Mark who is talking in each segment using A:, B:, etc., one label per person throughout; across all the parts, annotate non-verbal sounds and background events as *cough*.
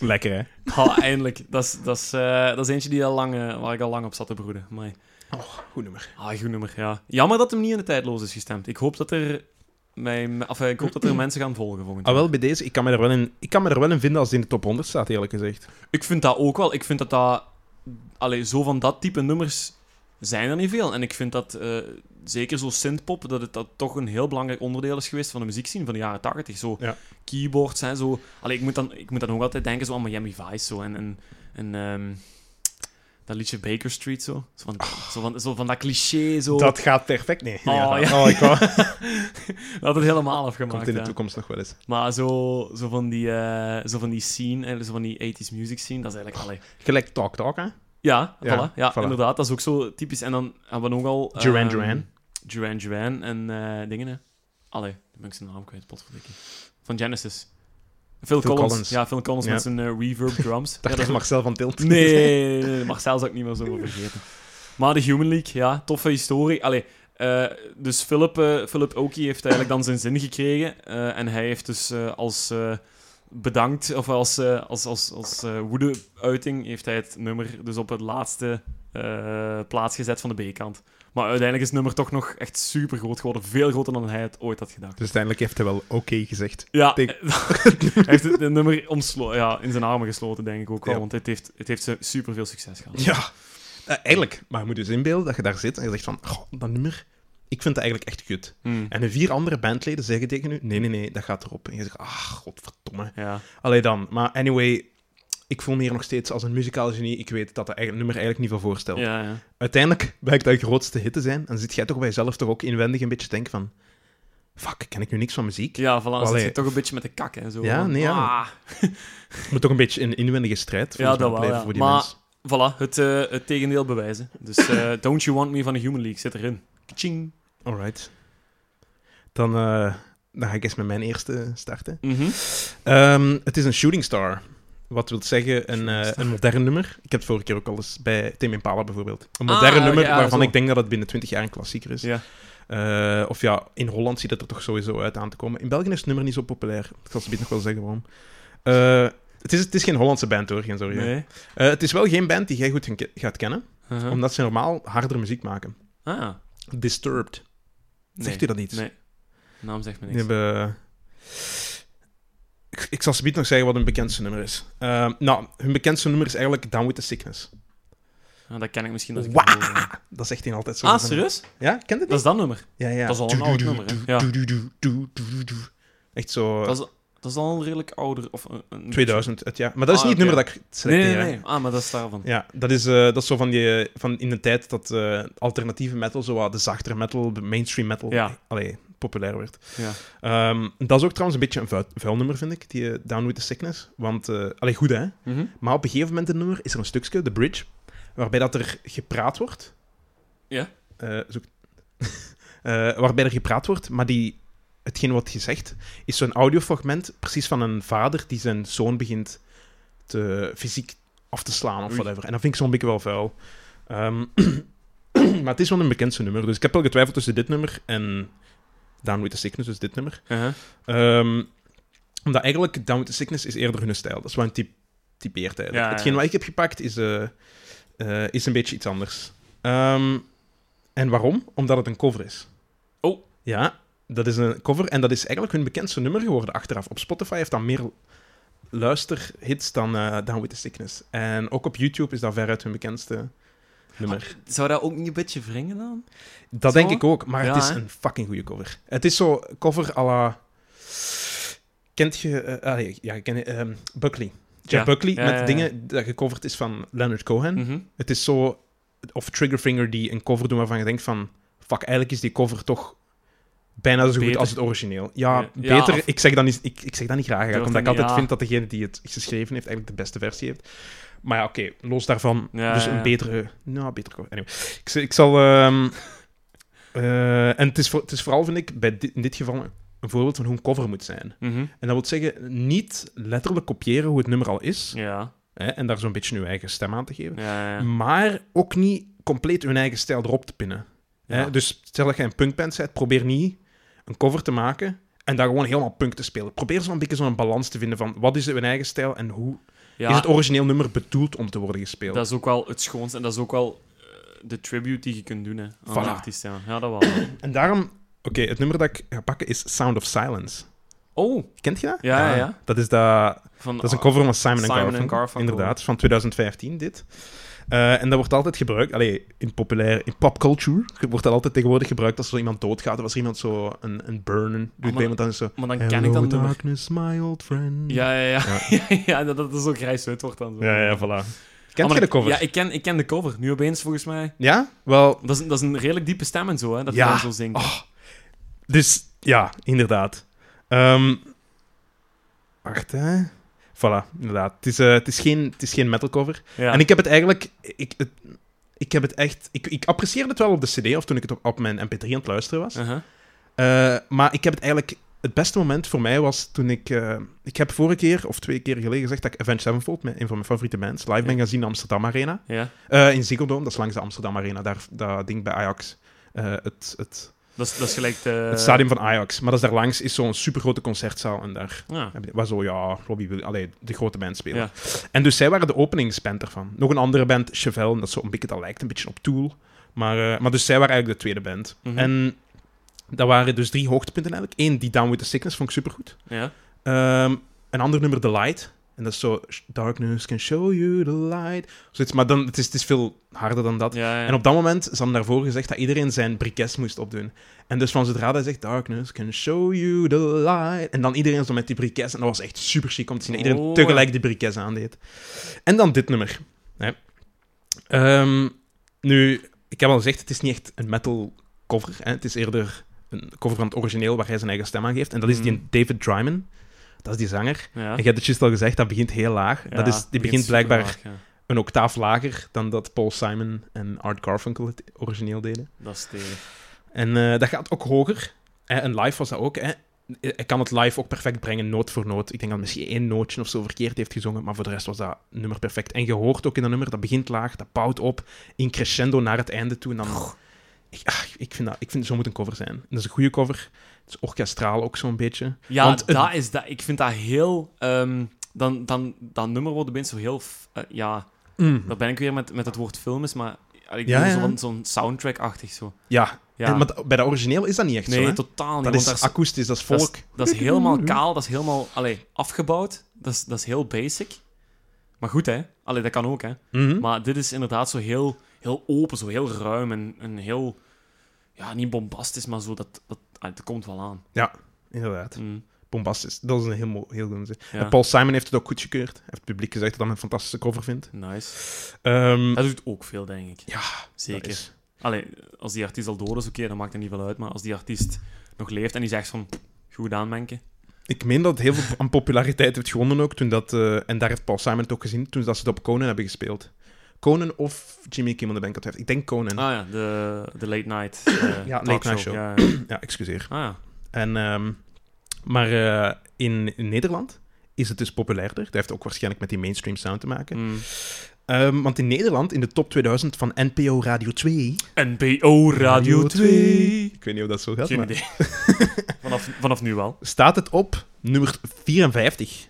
A: Lekker, hè?
B: Oh, eindelijk. Dat is, dat, is, eh, dat is eentje die al lang, eh, waar ik al lang op zat te broeden. Maar,
A: Goed nummer.
B: ah, goed nummer, ja. Jammer dat hem niet in de tijdloos is gestemd. Ik hoop dat er, mijn, of, eh, ik
A: *clears throat*
B: hoop dat er mensen gaan volgen volgend
A: Ah,
B: jaar.
A: wel, bij deze, ik kan, me er wel in, ik kan me er wel in vinden als het in de top 100 staat, eerlijk gezegd.
B: Ik vind dat ook wel. Ik vind dat dat... Allee, zo van dat type nummers zijn er niet veel. En ik vind dat, eh, zeker zo synthpop, dat het dat toch een heel belangrijk onderdeel is geweest van de muziekscene van de jaren 80. Zo
A: Ja.
B: keyboards, hè, zo... Allee, ik moet, dan, ik moet dan ook altijd denken zo aan Miami Vice, zo. En, en, en ehm, dat liedje Baker Street, zo. Zo van, zo van, zo van dat cliché, zo.
A: Ah. Dat gaat perfect. Nee.
B: Oh, ja.
A: ik
B: *laughs*
A: wou-
B: Dat het helemaal afgemaakt,
A: Komt in de
B: hè.
A: toekomst nog wel eens.
B: Maar zo, zo, van die, eh, zo van die scene, eh, zo van die 80s music scene, dat is eigenlijk... Allee,
A: Gelijk Talk Talk, hè?
B: Ja,
A: Ja,
B: voilà, ja
A: voilà.
B: inderdaad. Dat is ook zo typisch. En dan hebben we nogal...
A: Duran
B: ehm,
A: Duran.
B: Duran Duran en eh, dingen, hè. Allee, dan ben ik zijn naam kwijt, potverdikkie. Van Genesis. Phil,
A: Phil
B: Collins.
A: Collins.
B: Ja, Phil Collins
A: Ja.
B: met zijn eh, reverb drums. ja,
A: Dacht
B: dat
A: ik
B: is ook-
A: Marcel van Tilt.
B: *laughs* Nee, nee, nee, nee, nee, Marcel zou ik niet meer zo vergeten. Maar de Human League, ja, toffe historie. Allee, eh, dus Philip, eh Philip Oki heeft eigenlijk dan zijn zin gekregen. eh, en hij heeft dus eh, als eh, bedankt, of als, eh, als, als, als eh, woede-uiting, heeft hij het nummer dus op het laatste eh, plaats gezet van de B-kant. Maar uiteindelijk is het nummer toch nog echt super groot geworden. Veel groter dan hij het ooit had gedacht.
A: *laughs* Dus uiteindelijk heeft hij wel oké gezegd.
B: Ja,
A: Tik.
B: eh, *laughs* hij heeft het, het nummer omslo- ja, in zijn armen gesloten, denk ik ook wel.
A: Ja.
B: Want het heeft, het heeft super veel succes gehad.
A: Ja. Eh, eigenlijk, maar je moet dus inbeelden dat je daar zit en je zegt van, "Goh, dat nummer, ik vind dat eigenlijk echt kut.
B: Hmm.
A: En de vier andere bandleden zeggen tegen u, nee, nee, nee, dat gaat erop. En je zegt, ah, godverdomme.
B: Ja.
A: Allee dan, maar anyway, ik voel me hier nog steeds als een muzikaal genie. Ik weet dat dat eigen- nummer eigenlijk niet veel voorstelt.
B: Ja, ja.
A: Uiteindelijk blijkt dat je grootste hit te zijn. En dan zit jij toch bij jezelf toch ook inwendig een beetje te denken van, fuck, ken ik nu niks van muziek?
B: ja, voilà. Dan
A: Allee.
B: zit je toch een beetje met de kak, hè. Zo.
A: Ja, nee, ja.
B: Ah,
A: Het moet toch een beetje een inwendige strijd volgens mij
B: dat wel,
A: blijven
B: ja.
A: voor die
B: Maar-
A: mensen.
B: voilà, het, eh, het tegendeel bewijzen. Dus eh,
A: *laughs*
B: Don't You Want Me van de Human League zit erin. Ching.
A: Alright. Dan, eh, dan ga ik eens met mijn eerste starten.
B: Mhm.
A: Ehm, het is een shooting star. Wat wil zeggen, een,
B: Shooting
A: eh,
B: star.
A: een modern nummer. Ik heb het vorige keer ook al eens bij Tim Impala bijvoorbeeld. Een modern
B: oké,
A: nummer
B: Ah, ja,
A: waarvan
B: zo.
A: ik denk dat het binnen 20 jaar een klassieker is.
B: Ja.
A: Eh, of ja, in Holland ziet het er toch sowieso uit aan te komen. In België is het nummer niet zo populair. Ik zal het nog wel zeggen waarom. Eh, het, is, het is geen Hollandse band hoor, geen sorry.
B: Nee.
A: Eh, het is wel geen band die jij goed gen- gaat kennen,
B: Uh-huh.
A: omdat ze normaal harder muziek maken.
B: Ah,
A: Disturbed.
B: nee.
A: Zegt u dat niet?
B: Nee. Naam zegt me
A: Die
B: niks.
A: hebben... eh, Ik, ik zal zometeen nog zeggen wat hun bekendste nummer is. Eh, nou, hun bekendste nummer is eigenlijk Down With The Sickness.
B: Ah, dat ken ik misschien. Als ik
A: Wah!
B: het hoor.
A: Dat zegt hij altijd zo.
B: Ah, serieus?
A: Ja, kent het
B: Dat
A: niet?
B: is dat nummer.
A: Ja, ja.
B: dat is al een
A: Doe,
B: oud
A: doe,
B: nummer, hè?
A: doe,
B: Ja.
A: doe, doe, doe, doe, doe, doe. Echt zo eh,
B: Dat is, dat is al een redelijk ouder... Of eh, een, een-
A: 2000, het jaar. Maar dat is
B: Ah,
A: niet het
B: oké.
A: nummer dat ik
B: Nee, nee,
A: selecteer.
B: nee,
A: hè.
B: nee. Ah, maar dat is daarvan.
A: Ja, dat is, eh, dat is zo van, die, eh, van in de tijd dat eh, alternatieve metal, zo wat de zachtere metal, de mainstream metal,
B: Ja.
A: allee, populair werd.
B: Ja.
A: Ehm, dat is ook trouwens een beetje een vuil, vuil nummer, vind ik, die eh, Down With The Sickness. Want, eh allee, goed hè,
B: Mhm.
A: Maar op een gegeven moment in het nummer is er een stukje, de bridge, waarbij dat er gepraat wordt.
B: Ja.
A: Eh, zoek- *laughs* Eh, waarbij er gepraat wordt, maar die, hetgeen wordt gezegd, is zo'n audiofragment precies van een vader die zijn zoon begint te, fysiek af te slaan of
B: Oei.
A: whatever. En dat vind ik zo'n beetje wel vuil. Ehm, *clears throat* maar het is wel een bekendste nummer, dus ik heb wel getwijfeld tussen dit nummer en Down With The Sickness, dus dit nummer.
B: Uh-huh.
A: Ehm, omdat eigenlijk Down with the Sickness is eerder hun stijl. Dat is wel een typ typeert eigenlijk.
B: Ja, ja.
A: Hetgeen wat ik heb gepakt is, eh, eh, is een beetje iets anders. Ehm, en waarom? Omdat het een cover is.
B: Oh.
A: Ja, dat is een cover en dat is eigenlijk hun bekendste nummer geworden achteraf. Op Spotify heeft dat meer luisterhits dan eh, Down with the Sickness. En ook op YouTube is dat veruit hun bekendste nummer.
B: Zou dat ook niet een beetje wringen dan?
A: Dat
B: Zo?
A: denk ik ook, maar het
B: Ja,
A: is
B: hè?
A: een fucking goede cover. Het is zo cover à la... Kent je... eh, ah, nee, ja, ik ken ehm, Buckley. Jeff
B: Ja.
A: Buckley,
B: Ja,
A: met
B: ja, ja.
A: dingen dat gecoverd is van Leonard Cohen.
B: Mhm.
A: Het is zo... Of Triggerfinger die een cover doen waarvan je denkt van... Fuck, eigenlijk is die cover toch bijna zo goed
B: Beter.
A: als het origineel. Ja,
B: Ja. Ja,
A: beter.
B: of-
A: ik, zeg dat niet, ik, ik zeg dat niet graag, eigenlijk, omdat ik
B: Durf dat niet,
A: altijd
B: ja.
A: vind dat degene die het geschreven heeft eigenlijk de beste versie heeft. Maar ja, oké, los daarvan.
B: Ja,
A: dus
B: ja,
A: een
B: ja.
A: betere... Nou, beter... cover. Anyway. Ik, z- ik zal... ehm, *laughs* eh, en het is, voor- het is vooral, vind ik, bij dit, in dit geval een voorbeeld van hoe een cover moet zijn.
B: Mhm.
A: En dat wil zeggen, niet letterlijk kopiëren hoe het nummer al is,
B: Ja.
A: hè, en daar zo'n beetje uw eigen stem aan te geven,
B: Ja, ja.
A: maar ook niet compleet hun eigen stijl erop te pinnen. Hè?
B: Ja.
A: Dus stel dat je een punkband bent, probeer niet een cover te maken en daar gewoon helemaal punk te spelen. Probeer zo'n beetje zo'n balans te vinden van wat is hun eigen stijl en hoe
B: Ja,
A: is het origineel nummer bedoeld om te worden gespeeld.
B: dat is ook wel het schoonste. En dat is ook wel eh, de tribute die je kunt doen hè, aan de
A: Voilà.
B: artiest. Ja. ja, dat wel.
A: En daarom, oké, het nummer dat ik ga pakken is Sound of Silence.
B: Oh,
A: Kent je dat?
B: Ja, ja, ja.
A: Dat is, dat,
B: van, ah,
A: dat is een cover van Simon,
B: Simon
A: Garfunkel.
B: and Garfunkel.
A: Inderdaad, van 2015 dit. Eh, en dat wordt altijd gebruikt, allee, in populair, in popculture wordt dat altijd tegenwoordig gebruikt als er zo iemand doodgaat of als er iemand zo een, een burnen doet
B: maar-
A: bij iemand dan is zo...
B: Maar dan ken
A: Hello
B: ik dat nummer.
A: darkness, my old friend.
B: Ja, ja, ja. *laughs* ja. dat, dat is ook grijs wit wordt dan. Zo.
A: ja, ja, voilà. Kent
B: Ah,
A: je
B: maar
A: de cover?
B: Ja, ik ken, ik ken de cover. Nu opeens, volgens mij.
A: Ja? Wel,
B: Dat is, een- dat is een redelijk diepe stem en zo, hè, dat
A: Ja.
B: hij dan zo zingt.
A: Oh. dus ja, inderdaad. Ehm, wacht, hè. Voilà, inderdaad. Het is, eh, het is, geen, het is geen metal cover.
B: Ja.
A: En ik heb het eigenlijk... Ik, het, ik heb het echt... Ik, ik apprecieerde het wel op de cd, of toen ik het op, op mijn mp3 aan het luisteren was.
B: Uh-huh.
A: Eh, maar ik heb het eigenlijk... Het beste moment voor mij was toen ik... eh, ik heb vorige keer, of twee keer geleden, gezegd dat ik Avenged Sevenfold, mijn- een van mijn favoriete bands, live ben gaan zien in de Amsterdam Arena.
B: ja.
A: Eh, in Ziggo Dome, dat is langs de Amsterdam Arena, daar, dat ding bij Ajax. Eh, het, het,
B: Dat, is, dat is gelijk de...
A: het stadium van Ajax. Maar dat is daarlangs is zo'n supergrote concertzaal. En daar
B: Ja.
A: heb je- waar zo, ja, Robbie wil allee, de grote band spelen.
B: Ja.
A: En dus zij waren de openingsband ervan. Nog een andere band, Chevelle, en dat is zo een beetje, dat lijkt een beetje op Tool. Maar, eh, maar dus zij waren eigenlijk de tweede band.
B: Mhm.
A: En dat waren dus drie hoogtepunten eigenlijk. Eén, die Down With The Sickness vond ik supergoed.
B: ja.
A: Ehm, een ander nummer, The Light. En dat is zo, Darkness can show you the light. Zoiets, maar dan, het, is, het is veel harder dan dat.
B: Ja, ja.
A: En op dat moment is dan daarvoor gezegd dat iedereen zijn briquets moest opdoen. En dus van zodra hij zegt, darkness can show you the light. En dan iedereen zo met die briquets. En dat was echt super chic om te zien dat iedereen
B: Oh,
A: tegelijk die briquets aandeed. En dan dit nummer. Hè. Ehm, nu, ik heb al gezegd, het is niet echt een metal cover. Hè. Het is eerder een cover van het origineel waar hij zijn eigen stem aan geeft. En dat is die
B: Mm.
A: David Dryman. Dat is die zanger.
B: Ja.
A: En jij hebt het juist al gezegd, dat begint heel laag.
B: Ah. Ja,
A: dat is, die begint blijkbaar
B: superlaag, ja.
A: een octaaf lager dan dat Paul Simon en Art Garfunkel het origineel deden.
B: Dat is stevig.
A: En eh, dat gaat ook hoger. hè, en live was dat ook. Hè. Hij kan het live ook perfect brengen, noot voor noot. Ik denk dat misschien één nootje of zo verkeerd heeft gezongen, maar voor de rest was dat nummer perfect. En je hoort ook in dat nummer, dat begint laag, dat bouwt op, in crescendo naar het einde toe. En dan... ik, ah, ik vind dat, ik vind, zo moet een cover zijn. En dat is een goede cover. Het is orkestraal ook zo'n beetje.
B: Ja,
A: Want het-
B: dat is dat. Ik vind dat heel... ehm, dan, dan, dat nummer wordt opeens zo heel... f- eh, ja, daar ben ik weer met, met het woord film is, maar... eh, Ik
A: Ja,
B: bedoel,
A: ja.
B: zo'n zo'n soundtrack-achtig zo.
A: Ja,
B: Ja.
A: En, maar dat- bij de origineel is dat niet echt
B: nee,
A: zo. Hè?
B: totaal niet.
A: Dat
B: want
A: is
B: daar is-
A: akoestisch, dat is
B: Dat
A: volk.
B: is, dat
A: *laughs*
B: is helemaal kaal, dat is helemaal allee, afgebouwd. Dat is, dat is heel basic. Maar goed, hè. Allee, dat kan ook, hè.
A: Mhm.
B: Maar dit is inderdaad zo heel, heel open, zo heel ruim en, en heel... Ja, niet bombastisch, maar zo dat... dat ah, het komt wel aan.
A: Ja, inderdaad.
B: Mm,
A: bombastisch. Dat is een heel, mo- heel goed.
B: ja.
A: En Paul Simon heeft het ook goedgekeurd. Hij heeft het publiek gezegd dat hij een fantastische cover vindt.
B: Nice.
A: Ehm,
B: Dat doet ook veel, denk ik.
A: Ja, dat
B: Zeker.
A: is-
B: Allee, als die artiest al dood is, oké, dan maakt het niet veel uit. Maar als die artiest nog leeft en die zegt van... Goed gedaan, Menke.
A: Ik meen dat het heel veel aan populariteit heeft gewonnen ook. Toen dat, eh, en daar heeft Paul Simon het ook gezien toen dat ze het op Conan hebben gespeeld. Conan of Jimmy Kimmel, dat ben ik het heeft. Ik denk Conan.
B: Ah ja, de, de late night eh,
A: Ja, late
B: talkshow.
A: night show.
B: Ja, ja.
A: Ja, excuseer.
B: Ah ja.
A: En, ehm, maar eh, in, in Nederland is het dus populairder. Dat heeft ook waarschijnlijk met die mainstream sound te maken.
B: Mm.
A: Ehm, want in Nederland, in de top 2000 van NPO Radio 2...
B: NPO Radio 2.
A: Ik weet niet of dat zo gaat,
B: Geen
A: maar-
B: idee. *laughs* vanaf, vanaf nu wel.
A: staat het op nummer 54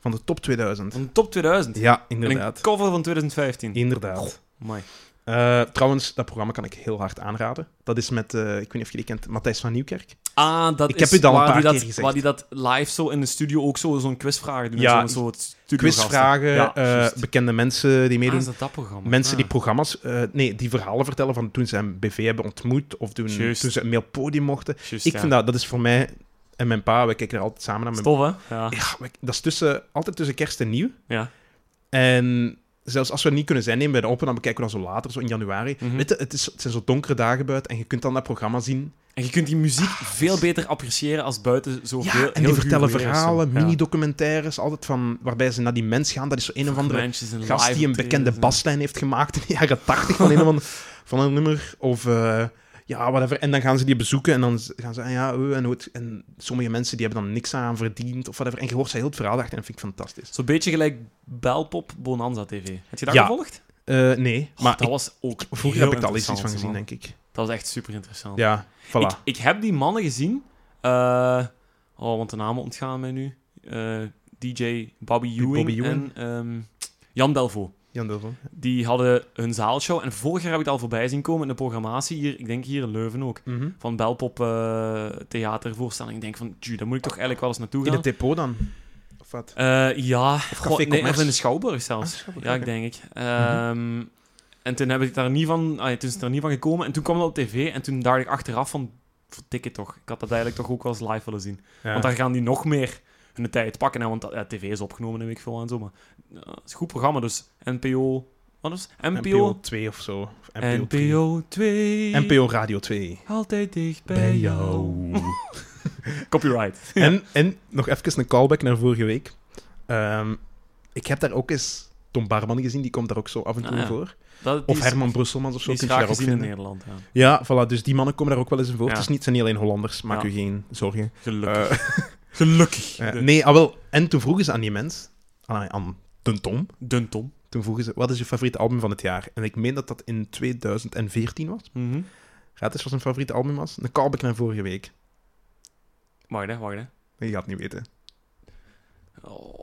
A: van de top 2000.
B: Van de top 2000.
A: Ja,
B: En een
A: inderdaad.
B: cover van 2015.
A: Inderdaad.
B: Amai.
A: Eh, trouwens, dat programma kan ik heel hard aanraden. Dat is met, eh, ik weet niet of jullie kent, Matthijs van Nieuwkerk.
B: Ah, dat
A: Ik
B: is
A: heb u dat al
B: waar
A: een paar
B: die dat,
A: keer gezegd.
B: Waar die dat live zo in de studio ook zo- zo'n quizvragen doen.
A: Ja,
B: Ja, zo, met zo'n studiogasten.
A: Quizvragen,
B: Ja,
A: eh,
B: juist.
A: bekende mensen die
B: Ah,
A: meedoen.
B: is dat dat programma?
A: mensen die
B: Ah.
A: programma's, eh, nee, die verhalen vertellen van toen ze een BV hebben ontmoet of toen,
B: Juist.
A: toen ze een mailpodium mochten.
B: Juist,
A: ik
B: ja.
A: vind dat, dat is voor mij en mijn pa, we kijken er altijd samen naar.
B: Dat
A: Mijn...
B: is tof, hè? Ja.
A: Ja, we- dat is tussen, altijd tussen kerst en nieuw.
B: ja.
A: En zelfs als we er niet kunnen zijn, nemen we de open, dan bekijken we dan zo later, zo in januari.
B: Mhm.
A: Weet je, het, is, het zijn zo donkere dagen buiten en je kunt dan dat programma zien.
B: En je kunt die muziek veel beter appreciëren als buiten zo veel.
A: en die
B: heel
A: vertellen
B: ruw weer is, zo.
A: verhalen,
B: Ja.
A: mini-documentaires, altijd van waarbij ze naar die mens gaan. Dat is zo een of andere
B: Mensen zijn
A: gast
B: live
A: die een
B: optreden,
A: bekende
B: zo.
A: baslijn heeft gemaakt in de jaren tachtig van een of *laughs* ander- van een nummer. Of eh, ja, whatever. En dan gaan ze die bezoeken en dan z- gaan ze, ah ja, eh, en, hoe het- en sommige mensen die hebben dan niks aan verdiend of whatever. En je hoort ze heel het verhaal achter en dat vind ik fantastisch.
B: Zo'n beetje gelijk Belpop Bonanza TV. Heb je dat
A: Ja.
B: gevolgd?
A: Eh, nee,
B: Oh,
A: maar
B: dat
A: ik-
B: was ook
A: vroeger
B: heel
A: heb ik daar al eens iets van
B: interessant,
A: gezien,
B: man.
A: denk ik.
B: Dat was echt super interessant.
A: Ja, voilà.
B: Ik, ik heb die mannen gezien. eh, oh, want de namen ontgaan mij nu. Eh, DJ Bobby Ewing,
A: Bobby Ewing.
B: en ehm, Jan Delvo.
A: Jan Dilvo.
B: Die hadden hun zaalshow. En vorig jaar heb ik het al voorbij zien komen in de programmatie hier. Ik denk hier in Leuven ook.
A: Mhm.
B: Van Belpop eh, theatervoorstelling. Ik denk van, tju, daar moet ik toch eigenlijk wel eens naartoe
A: In
B: gaan.
A: het depot dan? Of wat?
B: Eh, ja, Goh, nee,
A: Commerce.
B: of in de Schouwburg zelfs.
A: Ah, Schouwburg,
B: ja, ik
A: oké. Mhm.
B: denk ik. Ehm, En toen heb ik daar niet van, ah, ja, toen is het er niet van gekomen. En toen kwam dat op tv en toen dacht ik achteraf van, verdikke toch. Ik had dat eigenlijk toch ook wel eens live willen zien.
A: Ja.
B: Want daar gaan die nog meer hun tijd pakken. Hè, want dat- ja, tv is opgenomen en weet ik veel en zo. Maar eh, het is een goed programma, dus NPO... Wat is het? NPO...
A: NPO 2 of zo. Of NPO 3.
B: NPO 2.
A: NPO Radio 2.
B: Altijd dicht bij,
A: *laughs*
B: jou. Copyright.
A: En, en nog even een callback naar vorige week. Ehm, ik heb daar ook eens Tom Barman gezien, die komt daar ook zo af en toe
B: Ah, ja.
A: voor.
B: Dat, die
A: Of
B: is-
A: Herman Brusselmans of zo,
B: Die is
A: kun je daar
B: graag
A: ook
B: gezien in
A: vinden.
B: Nederland. Ja.
A: Ja, voilà, dus die mannen komen daar ook wel eens in voor.
B: Ja.
A: Het is niet, het zijn niet alleen Hollanders, maak
B: Ja.
A: u geen zorgen.
B: Gelukkig.
A: Eh,
B: *laughs* Gelukkig.
A: eh,
B: De-
A: nee, ah, wel, en toen vroegen ze aan die mens, aan, aan de Tom,
B: Dun Tom.
A: toen vroegen ze, wat is je favoriete album van het jaar? En ik meen dat dat in 2014 was.
B: Mhm.
A: Raad eens wat zijn favoriete album was. Een callback naar vorige week.
B: Wacht hè, wacht hè.
A: Je gaat het niet weten.
B: Oh,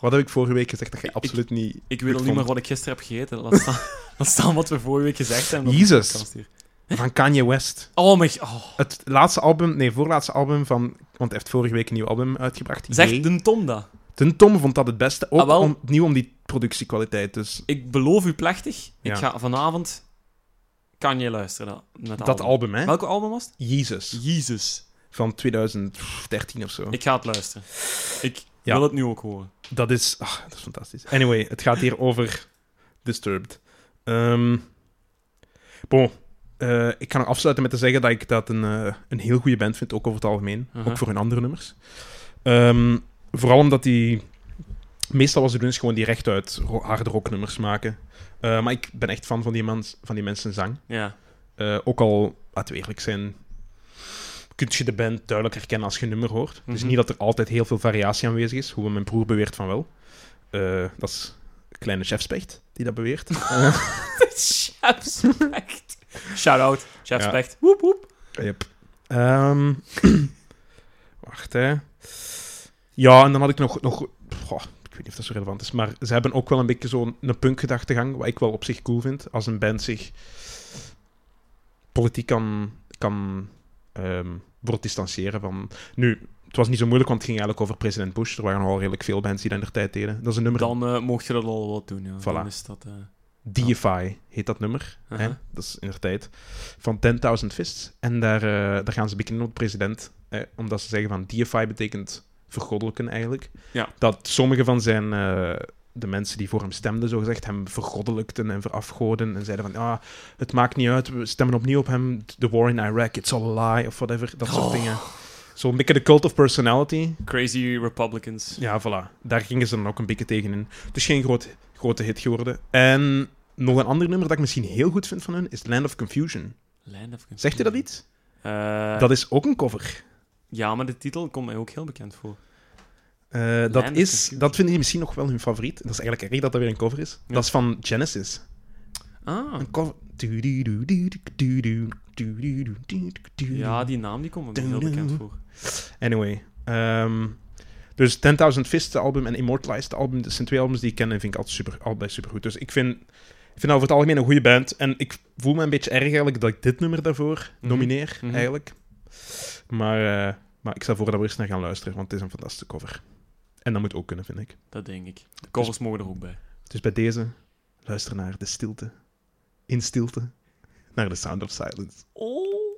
A: Wat heb ik vorige week gezegd dat je
B: Ik-
A: absoluut niet...
B: ik weet al
A: goed
B: niet meer
A: vond?
B: wat ik gisteren heb gegeten. Laat staan, *laughs* laat staan wat we vorige week gezegd hebben. op de
A: Jezus.
B: podcast hier.
A: Van Kanye West.
B: Oh, mijn... Oh.
A: Het laatste album, nee, voorlaatste album van. Want hij heeft vorige week een nieuw album uitgebracht.
B: Zeg
A: Jay.
B: Dun Tom dat.
A: Ten Tom vond dat het beste. Ook
B: Ah, wel.
A: om, nieuw om die productiekwaliteit. Dus
B: Ik beloof u plechtig,
A: Ja.
B: ik ga vanavond... Kan je luisteren dat, met
A: dat album, hè?
B: Welke album was het?
A: Jezus.
B: Jezus.
A: Van 2013 of zo.
B: Ik ga het luisteren. Ik
A: Ja.
B: wil het nu ook horen.
A: Dat, is, ah, dat is fantastisch. Anyway, het gaat hier over Disturbed. Ehm bon. Eh, ik ga nog afsluiten met te zeggen dat ik dat een, eh, een heel goede band vind, ook over het algemeen.
B: Aha.
A: Ook voor hun andere nummers. Ehm, vooral omdat die... Meestal was ze doen is gewoon die rechtuit ro- harde rocknummers maken. Eh, maar ik ben echt fan van die, mens, van die mensen zang.
B: Ja.
A: Eh, ook al, laten we eerlijk zijn, kun je de band duidelijk herkennen als je een nummer hoort. Dus
B: Mhm.
A: niet dat er altijd heel veel variatie aanwezig is, hoewel mijn broer beweert van wel. Eh, dat is kleine chefspecht die dat beweert. Eh,
B: Chefspecht. Shout-out. Chefspecht. Woep, woep.
A: yep. Ehm, *clears throat* wacht, hè. Ja, en dan had ik nog... nog goh, ik weet niet of dat zo relevant is, maar ze hebben ook wel een beetje zo'n een punkgedachtegang, wat ik wel op zich cool vind, als een band zich politiek kan, kan ehm wordt distancieren van... Nu, het was niet zo moeilijk, want het ging eigenlijk over president Bush. Er waren al redelijk veel bands die dat in de tijd deden. Dat is een nummer...
B: Dan eh, mocht je dat al wat doen, ja.
A: Voilà.
B: Dan is dat... eh,
A: Deify heet dat nummer.
B: aha.
A: Hè? Dat is in de tijd. Van 10.000 Fists. En daar, eh, daar gaan ze beginnen op president. eh, omdat ze zeggen van Deify betekent vergoddelijken eigenlijk.
B: Ja.
A: Dat sommige van zijn... eh, de mensen die voor hem stemden, zogezegd, hem vergoddelijkten en verafgoden. En zeiden van, ah, het maakt niet uit, we stemmen opnieuw op hem. The war in Iraq, it's all a lie, of whatever. Dat soort
B: Oh.
A: dingen. Zo'n beetje de cult of personality.
B: Crazy Republicans.
A: Ja, voilà. Daar gingen ze dan ook een beetje tegen in. Het is geen groot, grote hit geworden. En nog een ander nummer dat ik misschien heel goed vind van hun is Land of Confusion.
B: Land of Confusion.
A: Zegt je dat iets?
B: Eh,
A: Dat is ook een cover.
B: Ja, maar de titel komt mij ook heel bekend voor.
A: Eh,
B: Land
A: dat,
B: of
A: is,
B: Confusion.
A: dat vind ik misschien nog wel hun favoriet. Dat is eigenlijk erg dat dat weer een cover is.
B: Ja.
A: Dat is van Genesis.
B: Ah.
A: Een cover.
B: Ja, die naam die komt me heel bekend voor.
A: Anyway. ehm, dus 10.000 Fists de album en Immortalized de album, dat zijn twee albums die ik ken en vind ik altijd super, allebei supergoed. Dus ik vind, ik vind dat over het algemeen een goede band. En ik voel me een beetje erg eigenlijk dat ik dit nummer daarvoor
B: Mhm.
A: nomineer,
B: Mhm.
A: eigenlijk. Maar, eh, maar ik stel voor dat we eerst naar gaan luisteren, want het is een fantastische cover. En dat moet ook kunnen, vind ik.
B: Dat denk ik. De covers mogen er ook bij.
A: Dus bij deze, luister naar de stilte. In stilte. Naar de sound of silence.
B: Oh.